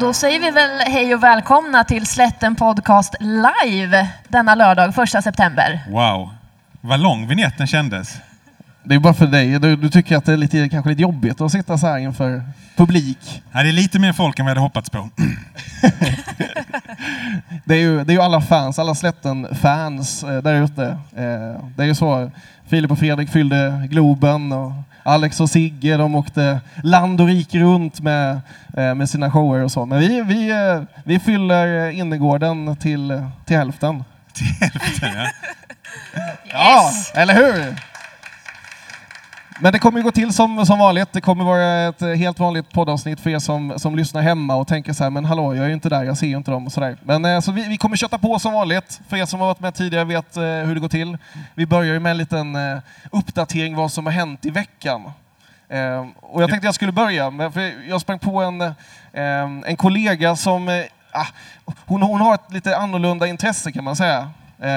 Då säger vi väl hej och välkomna till Slätten Podcast live denna lördag, 1 september. Wow, vad lång vignetten kändes. Det är bara för dig. Du, du tycker att det är lite, kanske lite jobbigt att sitta så här inför publik. Ja, det är lite mer folk än vi hade hoppats på. Det är ju, det är ju alla fans, alla slätten-fans eh, där ute. Eh, det är ju så. Filip och Fredrik fyllde Globen och Alex och Sigge de åkte land och rike runt med, eh, med sina shower och så. Men vi, vi, eh, vi fyller innergården till, till hälften. Ja. Ja, eller hur? Men det kommer ju gå till som, som vanligt. Det kommer vara ett eh, helt vanligt poddavsnitt för er som, som lyssnar hemma och tänker så här, men hallå, jag är ju inte där, jag ser ju inte dem och sådär. Men eh, så vi, vi kommer köta på som vanligt. För er som har varit med tidigare vet eh, hur det går till. Vi börjar ju med en liten eh, uppdatering vad som har hänt i veckan. Eh, och jag tänkte jag skulle börja, med, för jag sprang på en, eh, en kollega som eh, ah, hon, hon har ett lite annorlunda intresse kan man säga. Eh,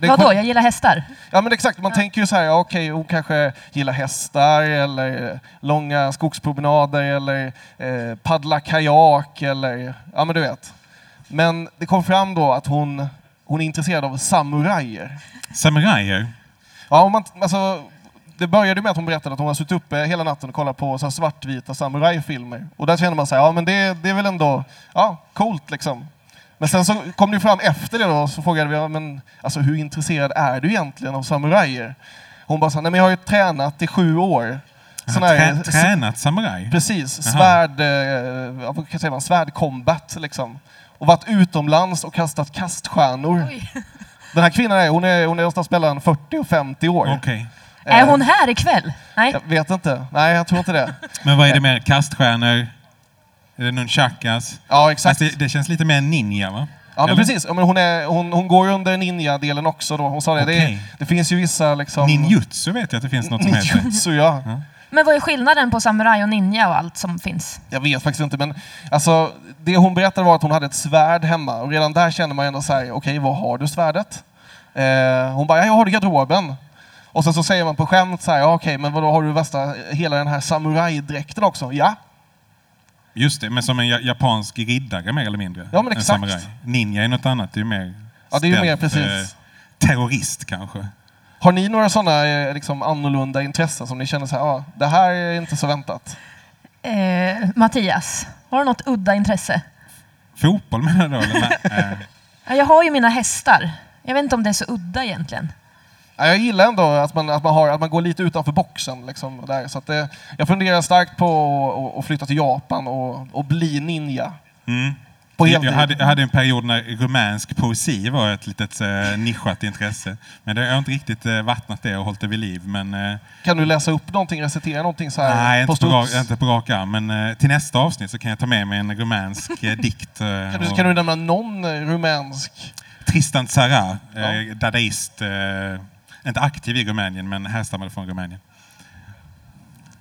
det- Vadå, jag gillar hästar. Ja men exakt, man tänker ju så här, ja, okej hon kanske gillar hästar eller eh, långa skogspromenader eller eh, paddla kajak eller ja men du vet. Men det kom fram då att hon, hon är intresserad av samurajer. Samurajer. Ja, om man, alltså, det började med att hon berättade att hon har suttit uppe hela natten och kollat på så här svartvita samurajfilmer. Och där känner man så här, ja men det, det är väl ändå ja, coolt liksom. Men sen så kom det ju fram efter det då, så frågade vi, ja, men, alltså, hur intresserad är du egentligen av samurajer? Hon bara sa, nej men jag har ju tränat i sju år. Sån Har här, trä- tränat samuraj. Precis, Jaha. svärd, eh, vad kan jag säga, man, svärdcombat liksom. Och varit utomlands och kastat kaststjärnor. Oj. Den här kvinnan är, hon är, hon är någonstans mellan 40 och 50 år. Okej. Är Eh, hon här ikväll? Nej. Jag vet inte. Nej, jag tror inte det. Men vad är det mer? Kaststjärnor? Är det nunchakas? Ja, exakt. Fast det, det känns lite mer ninja, va? Ja, men Eller? precis. Ja, men hon, är, hon, hon går ju under ninja-delen också. Då. Hon sa det. Det, Okej. är- det finns ju vissa liksom... Ninjutsu vet jag att det finns något som heter. Ninjutsu, ja. Men vad är skillnaden på samuraj och ninja och allt som finns? Jag vet faktiskt inte, men alltså, det hon berättade var att hon hade ett svärd hemma. Och redan där känner man ju ändå så här, okej, var har du svärdet? Eh, hon bara, ja, jag har det i garderoben. Och sen så säger man på skämt så här, ja, okej, men vadå, har du värsta, hela den här samurajdräkten också? Ja, Just det, men som en ja- japansk riddare mer eller mindre. Ja, men En exakt. samuraj. Ninja är något annat. Det är ju mer... Ja, det är ju mer stealth, precis. eh, Terrorist kanske. Har ni några sådana liksom, annorlunda intressen som ni känner så här, ah, det här är inte så väntat? Eh, Mattias, har du något udda intresse? Fotboll menar du? eller? Nej, eh. Ja, Jag har ju mina hästar. Jag vet inte om det är så udda egentligen. Ja, jag gillar ändå att man, att man, har, att man går lite utanför boxen. Liksom, där. Så att det, jag funderar starkt på att- att, att flytta till Japan och, och bli ninja. Mm. På jag, heltid. jag, hade, jag hade en period när rumänsk poesi var ett litet eh, nischat intresse. Men det, jag har inte riktigt eh, vattnat det och hållit det vid liv. Men, eh, Kan du läsa upp någonting, recitera någonting så här nej, på inte på, studs? rak, inte på rak arm. Men eh, till nästa avsnitt så kan jag ta med mig en rumänsk eh, dikt. Eh, Kan, du, och kan du nämna någon eh, rumänsk? Tristan Tzara, eh, Ja. dadaist. Eh, inte aktiv i Rumänien, men härstammade från Rumänien.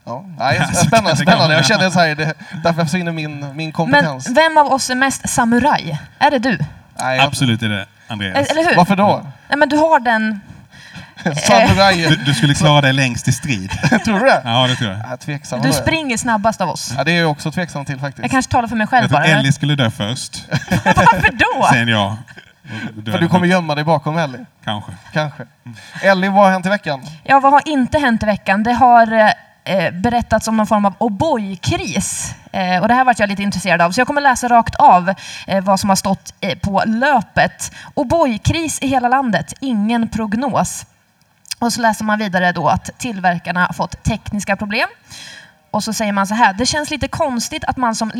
Ja, nej, Ja, så kan spännande, Alltså, det spännande. komma. Jag känner så här, det, därför försvinner min, min Men kompetens. vem av oss är mest samuraj? Är det du? Eh, nej, jag- Absolut är det, Andreas. Eller hur? Varför då? Nej, men du har den... Du, Eh. Samurajer, du skulle klara dig längst i strid. tror du det? Ja, det tror jag. Ja, Mm. tveksam. Du då är jag. springer snabbast av oss. Ja, det är jag också tveksam till faktiskt. Jag kanske talar för mig själv Jag tror bara. men- Ellie skulle dö först, Varför då? sen jag. Och dö För du kommer gömma dig bakom Ellie, Kanske. kanske. Mm. Ellie, vad har hänt i veckan? Ja, vad har inte hänt i veckan? Det har eh, berättats om någon form av O'boy-kris. Eh, och det här vart jag lite intresserad av, så jag kommer läsa rakt av eh, vad som har stått eh, på löpet. O'boy-kris i hela landet, ingen prognos. Och så läser man vidare då att tillverkarna har fått tekniska problem. Och så säger man så här, det känns lite konstigt att man som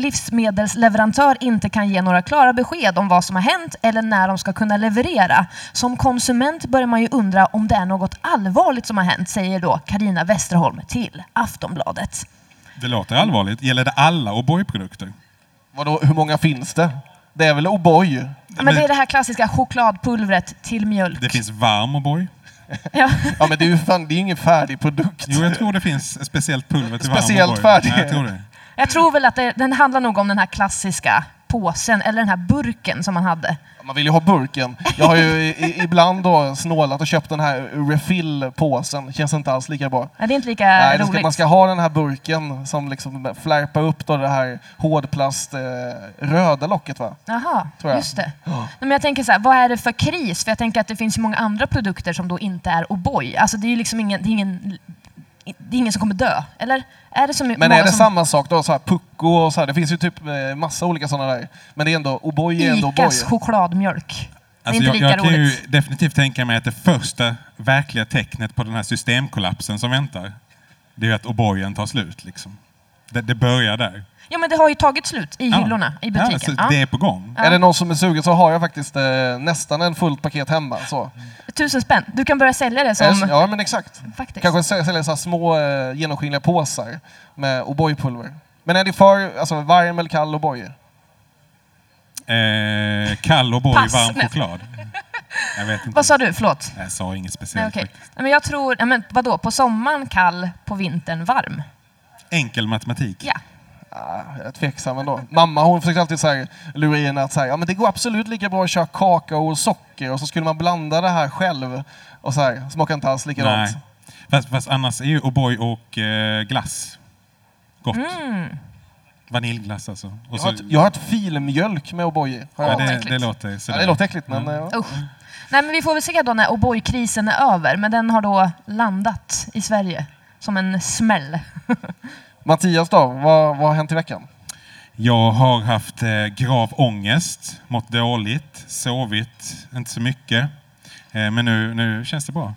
livsmedelsleverantör inte kan ge några klara besked om vad som har hänt eller när de ska kunna leverera. Som konsument börjar man ju undra om det är något allvarligt som har hänt, säger då Karina Westerholm till Aftonbladet. Det låter allvarligt. Gäller det alla O'boy-produkter? Vadå, hur många finns det? Det är väl O'boy? Ja, men det är det här klassiska chokladpulvret till mjölk. Det finns varm O'boy. Ja. Ja, men det är ju fan, det är ju ingen färdig produkt. Jo, jag tror det finns ett speciellt pulver till varm Speciellt O'boy. färdig. Ja, jag tror det. Jag tror väl att det, den handlar nog om den här klassiska påsen eller den här burken som man hade. Man vill ju ha burken. Jag har ju i- i, ibland då snålat och köpt den här refill-påsen. Känns inte alls lika bra. Ja, det är inte lika Nej, det roligt. ska, man ska ha den här burken som liksom flärpar upp då det här hårdplast eh, röda locket va? Jaha, tror jag. just det. Nej, men jag tänker så här, vad är det för kris? För jag tänker att det finns ju många andra produkter som då inte är O'boy. Alltså det är ju liksom ingen, det är ingen, det är ingen som kommer dö. Eller? Är det så Men är det som, samma sak då? Så här pucko och så här. Det finns ju typ eh, massa olika sådana där. Men det är ändå O'boy är ändå Icas O'boy. chokladmjölk? Det är Alltså inte jag, lika jag kan ju roligt. definitivt tänka mig att det första verkliga tecknet på den här systemkollapsen som väntar, det är ju att O'boyen tar slut. Liksom. Det, det börjar där. Ja, men det har ju tagit slut i hyllorna i Ja, alltså, butiken. så Ja, Det är på gång. Är det någon som är sugen så har jag faktiskt eh, nästan en fullt paket hemma. Så. Tusen spänn. Du kan börja sälja det Är det som... så- Ja men exakt. Faktiskt. Kanske sä- sälja så här små eh, genomskinliga påsar med O'boy-pulver. Men är det för alltså, varm eller kall O'boy? Eh, kall O'boy, Pass. varm Nej. choklad. Jag vet inte. Vad sa du? Förlåt. Jag sa inget Nej, speciellt. okej. faktiskt. Nej, men jag tror... Nej, men vadå? På sommaren kall, på vintern varm. Enkel matematik. Ja. Ah, jag är tveksam ändå. Mamma hon försökte alltid så här, lura i henne att så här, ja, men det går absolut lika bra att köra kakao och socker och så skulle man blanda det här själv. Och så här, smakar inte alls likadant. Nej. Fast, fast annars är ju O'boy och eh, glass gott. Vaniljglass alltså. Och Jag, så, har ett, jag har ett filmjölk med O'boy i. Har jag. ja, vad det, äckligt. det låter typ. Ja, sådär. det låter äckligt men... eh, Mm. Ja. Usch. Nej, men vi får väl se då när O'boy-krisen är över. Men den har då landat i Sverige som en smäll. Mattias då, vad, vad har hänt i veckan? Jag har haft eh, grav ångest, mått dåligt, sovit inte så mycket. Eh, men nu, nu känns det bra.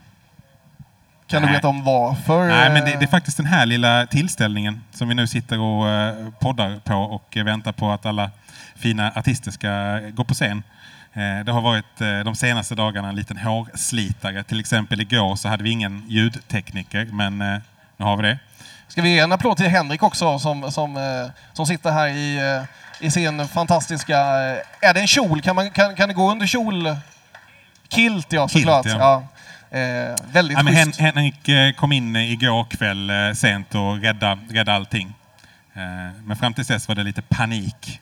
Kan du Nej. veta om varför? Nej, men det, det är eh, faktiskt den här lilla tillställningen som vi nu sitter och eh, poddar på och eh, väntar på att alla fina artister ska eh, gå på scen. Eh, Det har varit eh, de senaste dagarna en liten hårslitare. Till exempel igår så hade vi ingen ljudtekniker, men eh, nu har vi det. Ska vi ge en applåd till Henrik också som, som, eh, som sitter här i, eh, i sin fantastiska... eh, Är det en kjol? Kan, man, kan, kan det gå under kjol? Kilt ja, såklart. Kilt, ja. Eh, väldigt Ja, men Hen- schysst. Henrik eh, kom in igår kväll eh, sent och räddade, räddade allting. Eh, Men fram till dess var det lite panik.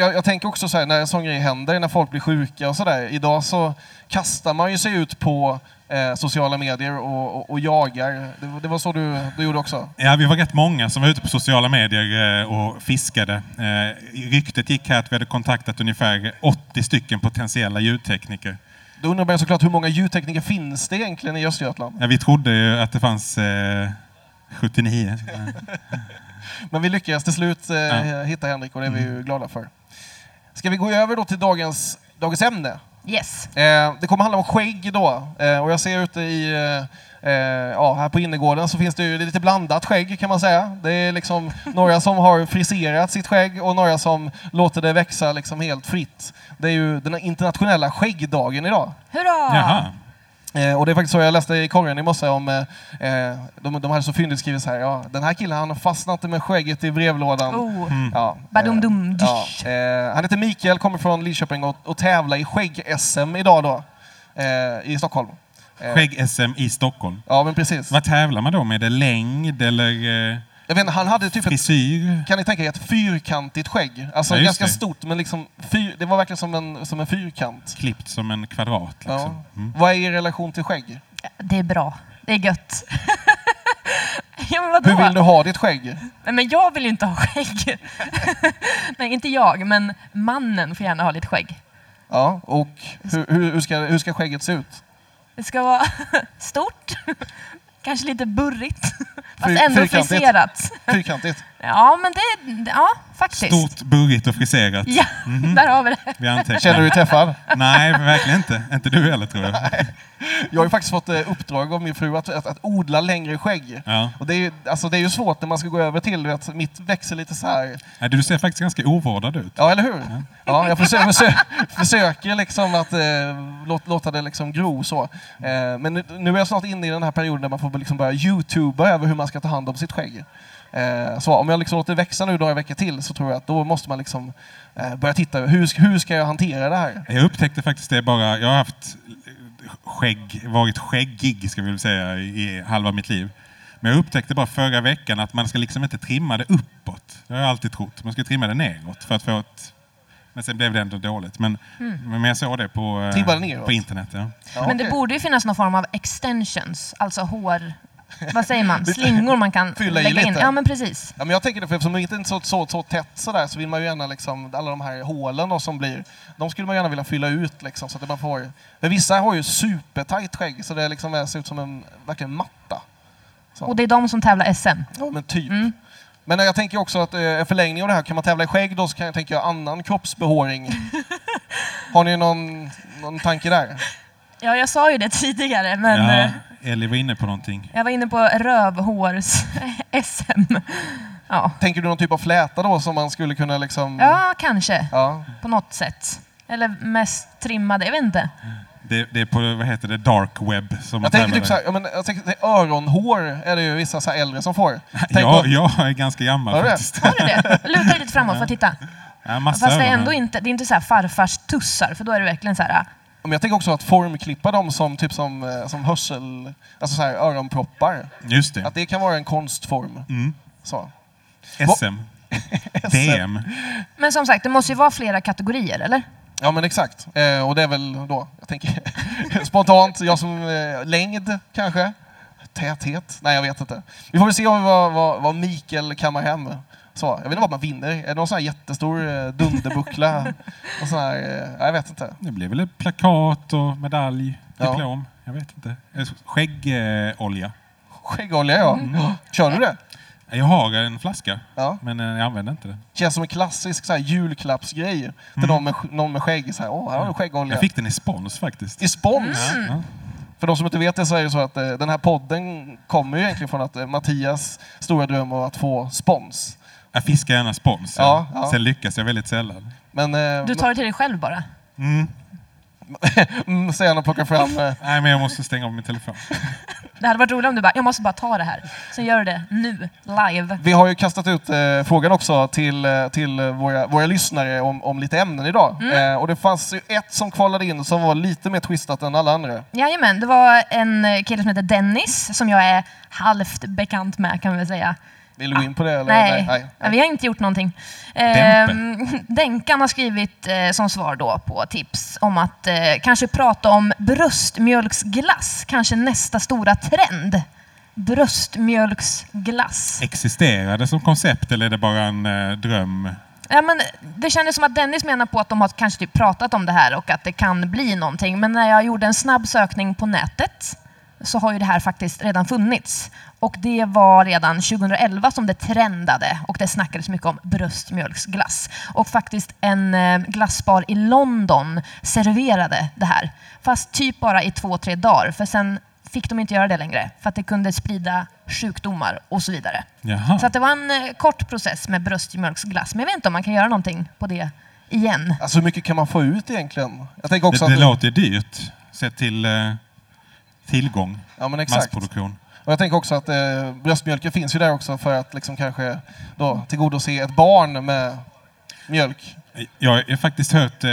Jag, jag tänker också så här, när en sån grej händer, när folk blir sjuka och sådär. Idag så kastar man ju sig ut på eh, sociala medier och, och, och jagar. Det, var- det var så du, du gjorde också? Ja, vi var rätt många som var ute på sociala medier eh, och fiskade. Eh, Ryktet gick här att vi hade kontaktat ungefär 80 stycken potentiella ljudtekniker. Då undrar man ju såklart hur många ljudtekniker finns det egentligen i Östergötland? Ja, vi trodde ju att det fanns eh, 79. Eh, Men vi lyckades till slut eh, Ja. hitta Henrik och det är vi ju glada för. Ska vi gå över då till dagens, dagens ämne? Yes. Eh, det kommer handla om skägg då. Eh, och jag ser ute i, eh, eh, ja, här på innergården så finns det ju det är lite blandat skägg kan man säga. Det är liksom några som har friserat sitt skägg och några som låter det växa liksom helt fritt. Det är ju den internationella skäggdagen idag. Hurra! Jaha. Eh, och det är faktiskt så jag läste i korgen i morse om, eh, eh, de, de hade så fyndigt skrivit så här, ja, den här killen han har fastnat med skägget i brevlådan. Oh. Ja, Badum-dum. eh, ja, eh, han heter Mikael, kommer från Lidköping och, och tävlar i skägg-SM idag då, eh, i Stockholm. Eh, Skägg-SM i Stockholm. Ja, men precis. Vad tävlar man då med? Är det längd eller eh, Jag vet inte, han hade typ ett, frisyr? kan ni tänka er, ett fyrkantigt skägg. Alltså Ja, just ganska det. stort, men liksom fyr, det var verkligen som en, som en fyrkant. Klippt som en kvadrat liksom. Ja. Vad är er relation till skägg? Det är bra. Det är gött. ja, men vadå? Hur vill du ha ditt skägg? Nej, men jag vill ju inte ha skägg. Nej, inte jag, men mannen får gärna ha lite skägg. Ja, och hur, hur, hur, ska, hur ska skägget se ut? Det ska vara stort, kanske lite burrigt, Fyr- fast ändå fyrkantigt. friserat. Fyrkantigt. Ja, men det... Ja, faktiskt. Stort, burrigt och friserat. Ja, Mhm. där har vi det. Vi antecknar. Känner du dig träffad? Nej, verkligen inte. Inte du heller tror jag. Jag har ju faktiskt fått eh, uppdrag av min fru att, att, att odla längre skägg. Ja. Och det, är ju, alltså det är ju svårt när man ska gå över till, du vet, mitt växer lite så här. Nej, Du ser faktiskt ganska ovårdad ut. Ja, eller hur? Ja, jag försöker, försöker, försöker liksom att eh, låt, låta det liksom gro så. Eh, men nu, nu är jag snart inne i den här perioden där man får liksom börja youtuba över hur man ska ta hand om sitt skägg. Eh, så om jag liksom låter det växa nu några veckor till så tror jag att då måste man liksom eh, börja titta, hur, ska- hur ska jag hantera det här? Jag upptäckte faktiskt det bara, jag har haft skägg, varit skäggig ska vi väl säga i halva mitt liv. Men jag upptäckte bara förra veckan att man ska liksom inte trimma det uppåt. Det har jag alltid trott. Man ska trimma det neråt för att få ett... Men sen blev det ändå dåligt. Men, Mm. men jag såg det på, eh, Trimma det neråt? på internet. Ja. Ja, Men det okej. borde ju finnas någon form av extensions, alltså hår... Vad säger man? Slingor man kan Fylla i lägga in. lite. Ja, men precis. Ja, men jag tänker det, för eftersom det inte är så, så, så tätt sådär så vill man ju gärna liksom, alla de här hålen då, som blir, de skulle man gärna vilja fylla ut liksom så att man får, men vissa har ju supertajt skägg så det liksom är- ser ut som en, verkligen matta. Och det är de som tävlar Mm. SM. Ja men typ. Men jag tänker också att eh, en förlängning av det här, kan man tävla i skägg då så kan jag tänka annan kroppsbehåring. har ni någon, någon tanke där? Ja, jag sa ju det tidigare, men Ja, eh, Ellie var inne på någonting. jag var inne på rövhårs-SM. Ja. Tänker du någon typ av fläta då som man skulle kunna liksom... ja, kanske. Ja. På något sätt. Eller mest trimmade, jag vet inte. Det, det är på, vad heter det, dark web som man Jag tänker tävlar typ i. såhär, ja, men jag tänker, det är öronhår är det ju vissa så här äldre som får. Tänk Ja, om- jag är ganska Har gammal du det? faktiskt. Har du det? Luta dig lite framåt, får jag titta? Ja, massa Fast det är öron. ändå inte, det är inte så här farfars tussar, för då är det verkligen så här... eh, Men jag tänker också att formklippa dem som typ som, eh, som hörsel, alltså så här öronproppar. Just det. Att det kan vara en konstform. Mm. Så. SM. DM. Men som sagt, det måste ju vara flera kategorier, eller? Ja men exakt. Eh, och det är väl då, jag tänker spontant, jag som eh, längd kanske? Täthet? Nej jag vet inte. Vi får väl se om vad, vad, vad Mikael kammar hem. Så, jag vet inte vad man vinner. Är det någon sån här jättestor eh, dunderbuckla? och sån här, eh, jag vet inte. Det blir väl ett plakat och medalj, Ja. diplom. Jag vet inte. Eh, Skäggolja. Eh, Skäggolja ja. Kör du det? Jag har en flaska, Ja. men eh, jag använder inte den. Känns som en klassisk så här, julklappsgrej till någon, med, sk- någon med skägg. Så här, Åh, här har du skäggolja. Mm. Jag fick den i spons faktiskt. I spons! Ja. För de som inte vet det så är det så att eh, den här podden kommer ju egentligen från att eh, Mattias stora dröm var att få spons. Jag fiskar gärna spons. Ja, Ja. ja. Sen lyckas jag väldigt sällan. Men eh, Du tar det till dig själv bara. Mm. mm, säger han och plockar fram... Eh, Nej, men jag måste stänga av min telefon. Det hade varit roligt om du bara, jag måste bara ta det här. Sen gör du det nu, live. vi har ju kastat ut eh, frågan också till, eh, till eh, våra, våra lyssnare om, om lite ämnen idag. Mm. Eh, och det fanns ju ett som kvalade in som var lite mer twistat än alla andra. Jajamän, det var en eh, kille som heter Dennis som jag är halvt bekant med kan vi väl säga. Vill du gå in på det? Eller? Ah. Nej, vi har inte gjort någonting. Dempe. Ehm, Denkan har skrivit eh, som svar då på tips om att eh, kanske prata om bröstmjölksglass, kanske nästa stora trend. Bröstmjölksglass. Existerar det som koncept eller är det bara en eh, dröm? Ja, men det kändes som att Dennis menar på att de har kanske typ pratat om det här och att det kan bli någonting. Men när jag gjorde en snabb sökning på nätet så har ju det här faktiskt redan funnits. Och det var redan 2011 som det trendade och det snackades mycket om bröstmjölksglass. Och faktiskt en eh, glassbar i London serverade det här. Fast typ bara i två, tre dagar. För sen fick de inte göra det längre. För att det kunde sprida sjukdomar och så vidare. Jaha. Så att det var en eh, kort process med bröstmjölksglass. Men jag vet inte om man kan göra någonting på det igen. Alltså hur mycket kan man få ut egentligen? Jag tänker också det det att... låter dyrt, sett till eh, tillgång, ja, men exakt. massproduktion. Och jag tänker också att eh, bröstmjölken finns ju där också för att liksom kanske då tillgodose ett barn med mjölk. Jag har faktiskt hört eh,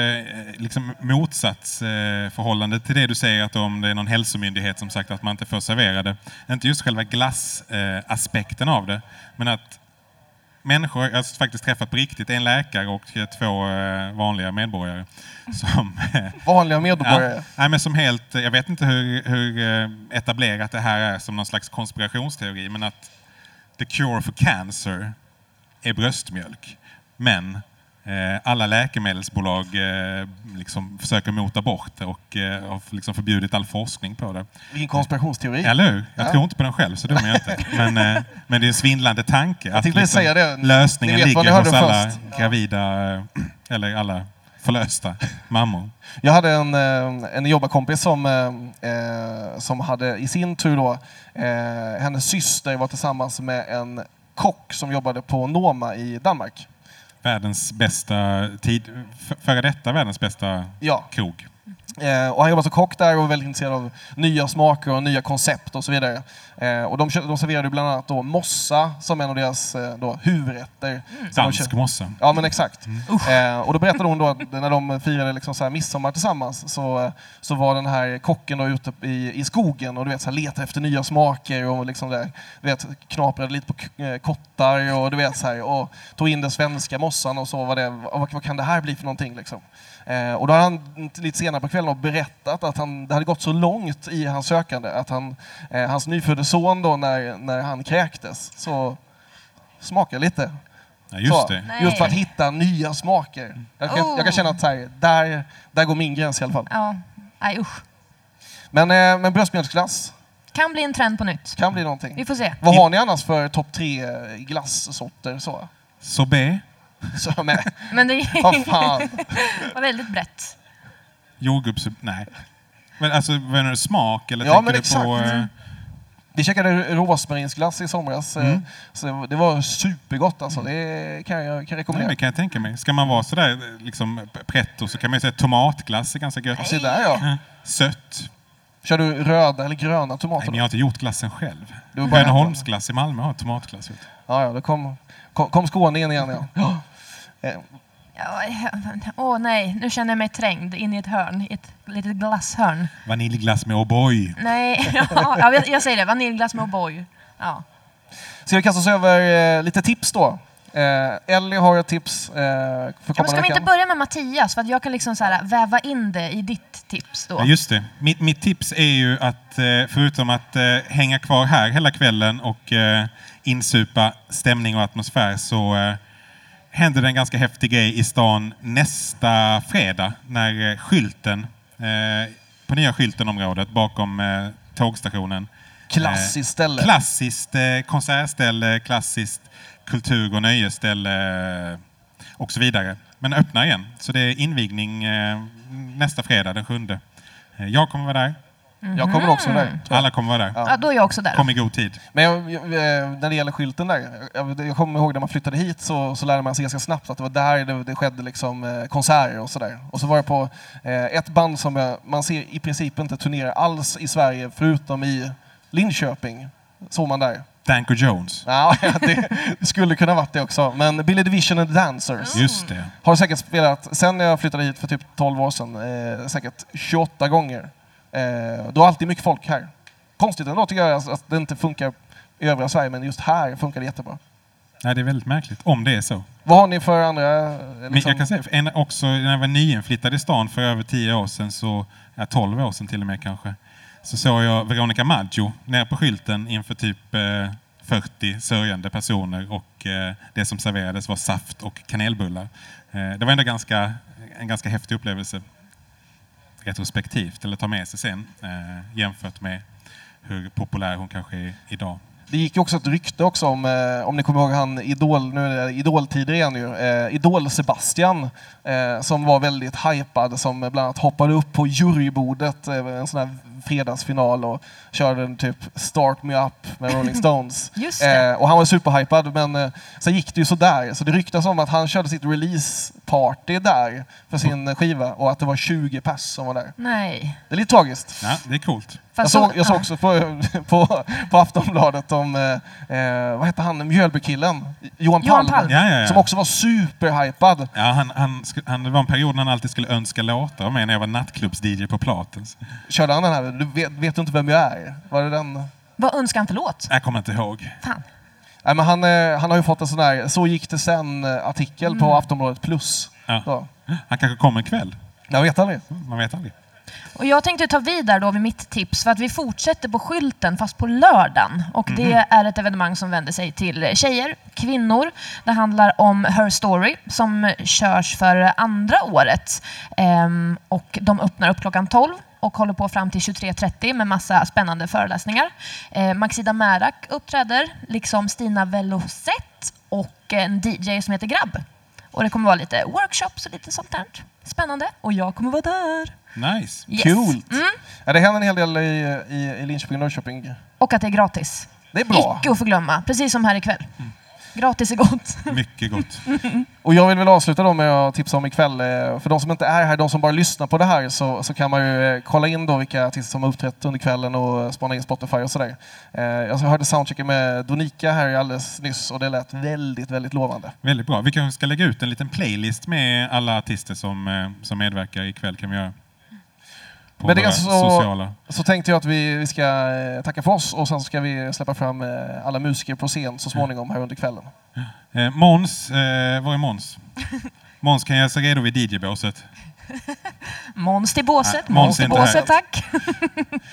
liksom motsatsförhållande eh, förhållande till det du säger att om det är någon hälsomyndighet som sagt att man inte får servera det. Inte just själva glassaspekten eh, aspekten av det, men att människor, jag har faktiskt träffat på riktigt en läkare och eh, två eh, vanliga medborgare som eh, Vanliga medborgare. Ja. Nej, men som helt, jag vet inte hur, hur eh, etablerat det här är som någon slags konspirationsteori, men att the cure for cancer är bröstmjölk. Men eh, alla läkemedelsbolag eh, liksom försöker mota bort det och eh, har liksom förbjudit all forskning på det. Vilken konspirationsteori. Eller hur? Jag Ja. tror inte på den själv, så dum är jag inte. Men, eh, men det är en svindlande tanke. att liksom tänkte säga det. Lösningen Ni vet vad ni ligger hos hörde alla först. gravida, eh, eller alla förlösta mammor. Jag hade en, eh, en jobbarkompis som, eh, eh, som hade i sin tur då, eh, hennes syster var tillsammans med en kock som jobbade på Noma i Danmark. världens bästa tid, f- före detta världens bästa Ja, krog. Eh, och han jobbar som kock där och är väldigt intresserad av nya smaker och nya koncept och så vidare. Eh, och de, kö- de serverade bland annat då mossa som en av deras eh, då, huvudrätter. Mm. Som de kö- Dansk mossa. Ja men exakt. Eh, och då berättade hon då att när de firade liksom så här midsommar tillsammans så, så var den här kocken då ute i, i skogen och du vet så här letade efter nya smaker och liksom där, du vet, knaprade lite på k- eh, kottar och du vet så här och tog in den svenska mossan och så var det, vad, vad kan det här bli för någonting liksom. Eh, och då har han lite senare på kvällen då berättat att han, det hade gått så långt i hans sökande att han, eh, hans nyfödde son då när, när han kräktes så smakade lite Ja, just så, det. Nej. Just för att hitta nya smaker. Jag kan, Oh. jag kan känna att så här, där, där går min gräns i alla fall. Ja, nej usch. Men, eh, men bröstmjölksglass Kan bli en trend på nytt. kan bli någonting. Vi får se. Vad har ni annars för topp tre eh, glassorter? Så? Sorbet, Så med, Men det vad fan. var väldigt brett. jordgubbs... Nej. Men alltså, vad menar du? Smak? Eller Ja, tänker men du exakt. på... eh, Vi käkade rosmarinsglass i somras. eh, Mm. Så det var supergott alltså. Det kan jag kan Nej, rekommendera. det kan jag tänka mig. Ska man vara sådär liksom pretto så kan man ju säga tomatglass är ganska gött. Eh, Se där ja. Sött. Kör du röda eller gröna Nej, tomater? men då? jag har inte gjort glassen själv. Du har bara ätit Rönneholmsglass i Malmö har tomatglass. Vet du. Ja, ja, då kom, kom, kom skåningen igen. Ja. Ja. Eh, Ja, men- Åh nej, nu känner jag mig trängd in i ett hörn, i ett litet glasshörn. Vaniljglass med O'boy. Nej, ja, jag, jag säger det. Vaniljglass med O'boy. Ja. Ska vi kasta oss över eh, lite tips då? Eh, Ellie har ett tips eh, för Ja, men kommande ska vi inte veckan. börja med Mattias? För att jag kan liksom så här, väva in det i ditt tips då. Ja, just det. Mitt, mitt tips är ju att eh, förutom att eh, hänga kvar här hela kvällen och eh, insupa stämning och atmosfär så eh, händer det en ganska häftig grej i stan nästa fredag när eh, skylten, eh, på nya skyltenområdet bakom eh, tågstationen Klassiskt ställe. Klassiskt eh, konsertställe, klassiskt kultur och nöjesställe eh, och så vidare. Men öppna igen. Så det är invigning eh, nästa fredag den sjunde. Eh, jag kommer vara där. Mhm. Jag kommer också där. Alla kommer vara där. Ja, då är jag också där. Kom i god tid. Men jag, jag, eh, när det gäller skylten där, jag, jag kommer ihåg när man flyttade hit så, så lärde man sig ganska snabbt att det var där det, det skedde liksom, eh, konserter och sådär. Och så var jag på eh, ett band som jag, man ser i princip inte turnera alls i Sverige förutom i Linköping. Såg man där. Danko Jones. Ja, det skulle kunna varit det också. Men Billy Division and the Dancers. Just det. Har säkert spelat, sen när jag flyttade hit för typ 12 år sedan, eh, säkert 28 gånger. Eh, då är alltid mycket folk här. Konstigt ändå tycker jag alltså, att det inte funkar i övriga Sverige, men just här funkar det jättebra. Nej, det är väldigt märkligt. Om det är så. Vad har ni för andra... eh, Men Liksom, jag kan säga, för en, också när jag var nyinflyttad i stan för över tio år sedan, så, ja, 12 år sedan till och med kanske, så såg jag Veronica Maggio nere på skylten inför typ eh, 40 sörjande personer och eh, det som serverades var saft och kanelbullar. Eh, det var ändå ganska, en ganska häftig upplevelse retrospektivt, eller ta med sig sen, eh, jämfört med hur populär hon kanske är idag. Det gick ju också ett rykte också om, eh, om ni kommer ihåg han Idol, nu är det Idol-tider igen ju, eh, Idol-Sebastian eh, som var väldigt hypad som bland annat hoppade upp på jurybordet eh, en sån här fredagsfinal och körde en typ Start Me Up med Rolling Stones. Just det. Eh, och han var superhypad men eh, sen gick det ju sådär så det ryktas om att han körde sitt release-party där för sin skiva och att det var 20 pers som var där. Nej. Det är lite tragiskt. Ja, det är coolt. Jag Fast såg, så- jag såg ja. också på, på, på Aftonbladet om, eh, eh, vad hette han, Mjölbykillen? Johan Palm. Johan Palm. Ja, ja, ja. Som också var superhypad. Ja, han, han, sk- han, det var en period när han alltid skulle önska låtar med när jag var nattklubbs-DJ på Platens. Körde han den här, du vet, vet du inte vem jag är? Var det den? Vad önskar han för låt? Jag kommer inte ihåg. Fan. Nej, men han, eh, han har ju fått en sån här, så gick det sen-artikel på Mm. Aftonbladet plus. Ja. Så, Han kanske kommer en kväll. jag vet aldrig. Man vet aldrig. Och jag tänkte ta vid där då vid mitt tips för att vi fortsätter på skylten fast på lördagen. Och det är ett evenemang som vänder sig till tjejer, kvinnor. Det handlar om Her Story som körs för andra året. Ehm, och de öppnar upp klockan 12 och håller på fram till 23.30 med massa spännande föreläsningar. Eh, Maxida Märak uppträder, liksom Stina Velocet och en DJ som heter Grabb. Och det kommer vara lite workshops och lite sånt där. Spännande. Och jag kommer vara där. Nice. Yes. Mm. Coolt! Ja, det händer en hel del i, i, i Linköping och Norrköping. Och att det är gratis. Det är bra. Mm. Icke att förglömma, precis som här ikväll. Gratis är gott. Mycket gott. Och jag vill väl avsluta då med att tipsa om ikväll. eh, För de som inte är här, de som bara lyssnar på det här, så, så kan man ju eh, kolla in då vilka artister som har uppträtt under kvällen och eh, spana in Spotify och sådär. Eh, Jag hörde soundchecken med Donika här alldeles nyss och det lät väldigt, väldigt lovande. Väldigt bra. Vi kanske ska lägga ut en liten playlist med alla artister som, eh, som medverkar ikväll kan vi göra. På Med det alltså- våra så- sociala. Så tänkte jag att vi, vi ska eh, tacka för oss och sen ska vi släppa fram eh, alla musiker på scen så småningom här under kvällen. Eh, Måns, eh, var är Måns? Måns, kan jag säga redo vid DJ-båset? Måns till båset. Nej, Måns Måns är till inte här. båset, tack.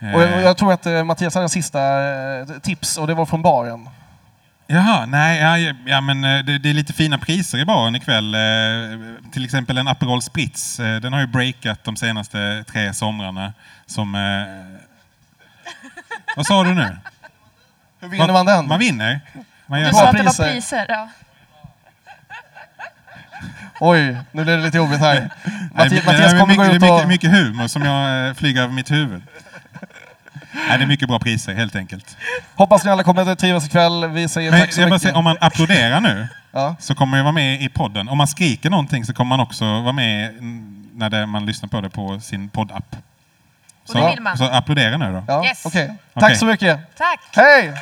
Eh, Och jag, jag tror att eh, Mattias hade en sista eh, tips och det var från baren. Jaha, nej, ja, ja, men eh, det, det är lite fina priser i baren ikväll. Eh, Till exempel en Aperol Spritz. Eh, Den har ju breakat de senaste tre somrarna. Som, eh, vad sa du nu? Hur vinner man den? Man vinner. Man gör Du Bra sa att det var priser. priser. Ja. Oj, nu blev det lite jobbigt här. Nej, Matti, det- Mattias det är kommer gå mycket, ut det är mycket, och... mycket humor som jag eh, flyger över mitt huvud. Nej, det är mycket bra priser helt enkelt. Hoppas ni alla kommer att trivas ikväll. Vi säger Men tack så jag bara mycket. säger, om man applåderar nu Ja. så kommer jag vara med i podden. Om man skriker någonting så kommer man också vara med mm, när det, man lyssnar på det på sin poddapp. Och det vill man. så applådera nu då. Ja, Yes. okej. Okej. Tack så mycket. Tack. Hej!